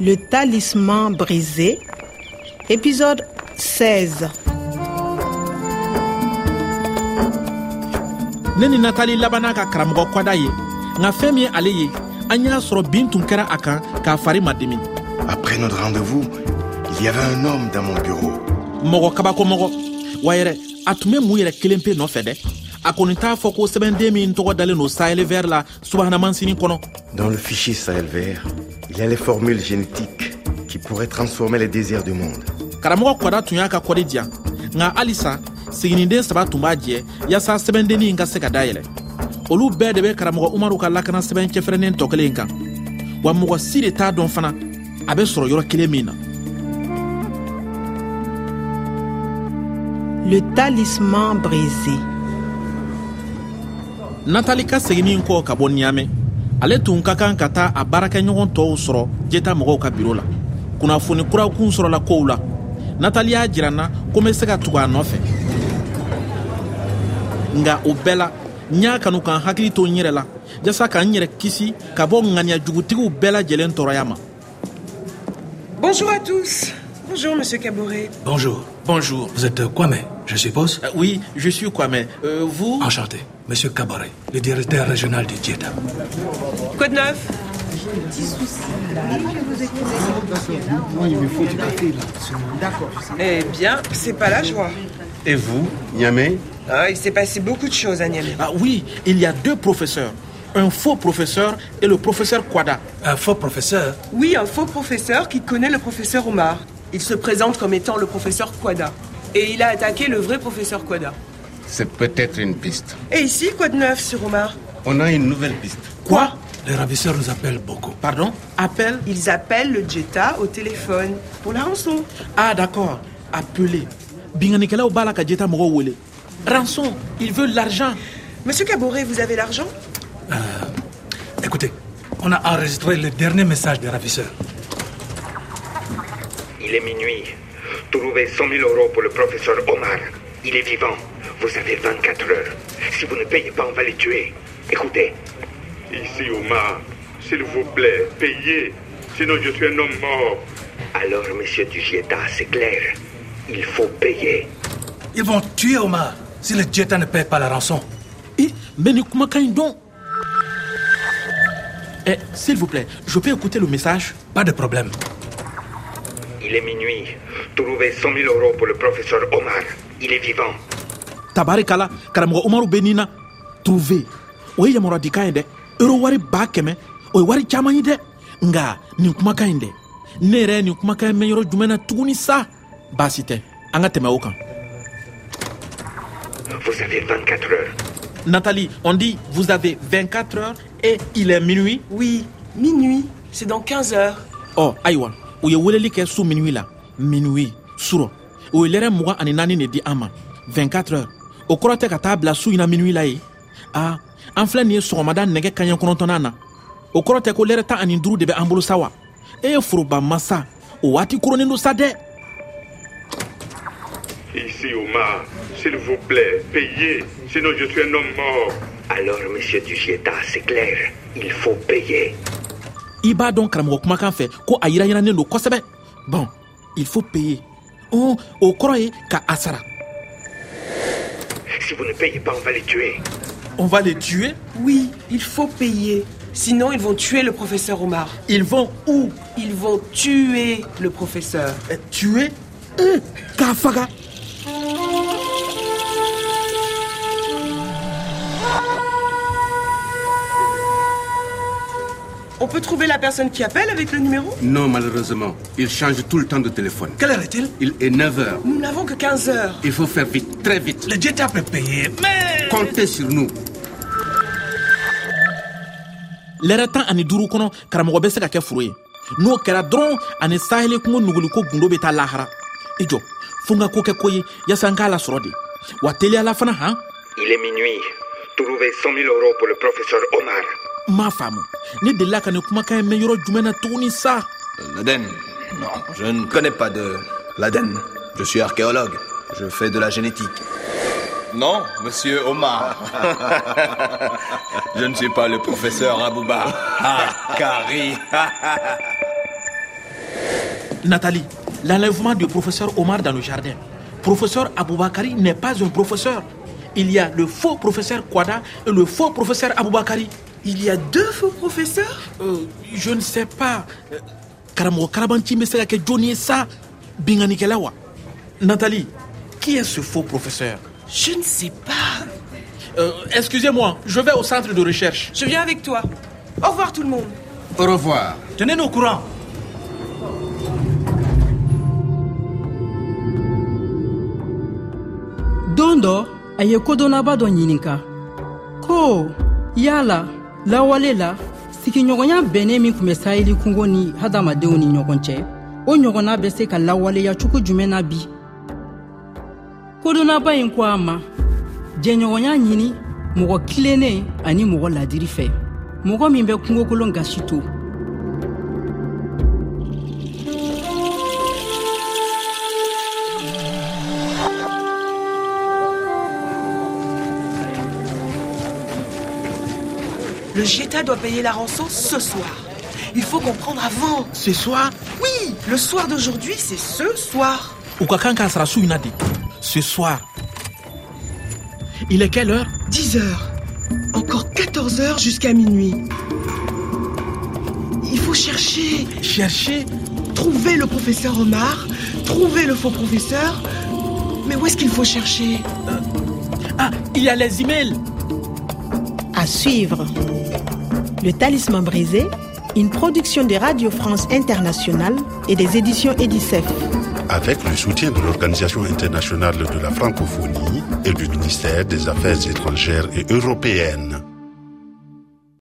Le talisman brisé, épisode 16. ne ni natali labanna ka karamɔgɔ kwada ye nka fɛɛn min ye ale ye an y'a sɔrɔ bin tun kɛra a kan k'a fari ma dimi Après notre rendez-vous, il y avait un homme dans mon bureau. mɔgɔ kabakomɔgɔ wa yɛrɛ a tun bɛ mun yɛrɛ kelen pe nɔfɛ dɛ a kɔni t'a fɔ ko sɛbɛnden min tɔgɔ dalen don sahɛli vɛri la subahanamansini kɔnɔ Dans le fichier Sahel vert, il y a les formules génétiques qui pourraient transformer les désirs du monde. karamɔgɔ kwada tun y'a ka kɔdi diyan nka halisa sigininden saba tun b'a jɛ yaasa sɛbɛndennin in ka se ka dayɛlɛ olu bɛɛ de bɛ karamɔgɔ umaru ka lakana sɛbɛn cɛfɛrɛnnen tɔ kelen in kan wa mɔgɔ si de t'a dɔn fana a bɛ sɔrɔ yɔrɔ kelen min na Le talisman brisé. natali ka seginin kɔ ka bɔ niyamɛ ale tun ka kan ka taa a baarakɛɲɔgɔn tɔw sɔrɔ jeta mɔgɔw ka biro la kunnafoni kurakun sɔrɔla kow la natali y'a jira n na ko n be se ka tugu a nɔfɛ nga o bɛɛ la n y'a kanu k'an hakili to n yɛrɛ la yaasa ka n yɛrɛ kisi ka bɔ ŋaniyajugutigiw bɛɛ lajɛlen tɔɔrɔya ma Bonjour à tous. Bonjour, monsieur Caboret. Bonjour. bonjour Vous êtes euh, Kwame, je suppose Euh, oui je suis quoi mais euh, vous Enchanté. Monsieur Cabaret, le directeur régional du Dieta. Quoi de neuf Eh bien, c'est pas la joie. Et vous Niamey Ah, il s'est passé beaucoup de choses à Niamey. ah, oui il y a deux professeurs un faux professeur et le professeur kwada Un faux professeur Oui, un faux professeur qui connaît le professeur Omar. Il se présente comme étant le professeur Quada. Et il a attaqué le vrai professeur Quada. C'est peut-être une piste. Et ici, quoi de neuf sur Omar On a une nouvelle piste. quoi Les ravisseurs nous appellent beaucoup. pardon appel Ils appellent le Jetta au téléphone pour la rançon. Ah d'accord, appelez. Binganikelaw bala ka jeta mɔgɔw wele. Rançon, il veut l'argent. Monsieur Caboret, vous avez l'argent Écoutez, on a enregistré le dernier message des ravisseurs. Il est minuit. Trouvez 100 000 euros pour le professeur Omar. Il est vivant. Vous avez 24 heures. Si vous ne payez pas, on va les tuer. Écoutez. Ici, Omar, s'il vous plaît, payez. Sinon, je suis un homme mort. Alors, monsieur Dugieta, c'est clair. Il faut payer. Ils vont tuer Omar si le Dieta ne paye pas la rançon. Eh, mais ni kumakan in dɔn. Eh, s'il vous plaît, je peux écouter le message Pas de problème. Il est minuit. Trouvez 100 000 euros pour le professeur Omar. Il est vivant. tabarikala karamɔgɔ umaru bɛ nin na trouvé o ye yamaruyadikan ye dɛ euro wari ba kɛmɛ o ye wari caman ye dɛ nga nin kumakan ye dɛ ne yɛrɛ ye nin kumakan mɛn yɔrɔ jumɛn na tuguni sa baasi tɛ an ka tɛmɛ o kan Vous avez 24 heures. natali on dit vous avez 24 heures et il est minuit Oui, minuit. C'est dans 15 heures. ɔ ayiwa u ye weleli kɛ su minuwi la minuwi surɔ u ye lɛrɛ mugan ani naani de di an ma 24 heures o kɔrɔ tɛ ka taa bila su ɲina minuwi la ye a an filɛ nin ye sɔgɔmada nɛgɛ kaɲɛ kɔnɔntɔnan na o kɔrɔ tɛ ko lɛrɛ tan ani duru de bɛ an bolo sa wa e ye foroba masa o waati koronin do sa dɛ Ici, Omar, s'il vous plaît, payez. Sinon, je suis un homme mort. Alors, monsieur Dugieta, c'est clair. Il faut payer. i b'a dɔn karamɔgɔ kumakan fɛ ko a yirayirannen don kosɛbɛ bɔn il faut payer ɔn o kɔrɔ ye ka a sara Si vous ne payez pas, on va les tuer. on va les tuer Oui, il faut payer. Sinon, ils vont tuer le professeur Omar. ils vont où Ils vont tuer le professeur. Eh, tuer Eh, k'a faga On peut trouver la personne qui appelle avec le numéro Non, malheureusement. Il change tout le temps de téléphone. Quelle heure est-il Il est 9 heures. Nous n'avons que 15 heures. Il faut faire vite, très vite. Le Dieta peut payer, mais. Comptez sur nous. lɛrɛ tan ani duuru kɔnɔ karamɔgɔ bɛ se ka kɛ foro ye n'o kɛra dɔrɔn ani saheli kungo nuguliko gundo bɛ taa lahara i jɔ fo n ka ko kɛ ko ye yaasa n k'a lasɔrɔ de wa teliyala fana han Il est minuit. Trouvez 100 000 euros pour le professeur Omar. n m'a faamu ne delila ka nin kumakan ye mɛn yɔrɔ jumɛn na tuguni sa L'Aden Non, je ne connais pas de l'Aden. Je suis archéologue. Je fais de la génétique. Non, monsieur Omar. je ne suis pas le professeur Abouba. Ah, Kari. Nathalie, l'enlèvement du professeur Omar dans le jardin. Professeur Aboubakari n'est pas un professeur. Il y a le faux professeur Kwada et le faux professeur Aboubakari. Il y a deux faux professeurs Euh, je ne sais pas. Euh, Karamɔgɔ karabanci bɛ se ka kɛ jɔnni ye sa binganikɛla wa Nathalie, qui est ce faux professeur Je ne sais pas. Euh, Excusez-moi, je vais au centre de recherche. Je viens avec toi. Au revoir tout le monde. Au revoir. Tenez-nous au courant. don dɔ a ye kodɔnnaba dɔ ɲininka ko yala lawale la sigiɲɔgɔnya bɛnnen min tun bɛ saheli kungo ni hadamadenw ni ɲɔgɔn cɛ o ɲɔgɔnna bɛ se ka lawaleya cogo jumɛn na bi kodɔnnaba ɲi ko a ma jɛɲɔgɔnya ɲini mɔgɔ kilennen ani mɔgɔ ladiri fɛ mɔgɔ min bɛ kungokolon gasi to Le Jeta doit payer la rançon ce soir. Il faut comprendre avant. Ce soir, Oui, le soir d'aujourd'hui, c'est ce soir. u ka kan k'a sara su in na de ce soir il est quelle heure 10 heures. Encore 14 heures jusqu'à minuit. Il faut chercher, chercher trouver le professeur Omar, trouver le faux professeur. Mais où est-ce qu'il faut chercher ah il y a les emails À suivre. Le Talisman brisé, une production de Radio France Internationale et des éditions Edicef. Avec le soutien de l'Organisation internationale de la francophonie et du ministère des Affaires étrangères et européennes.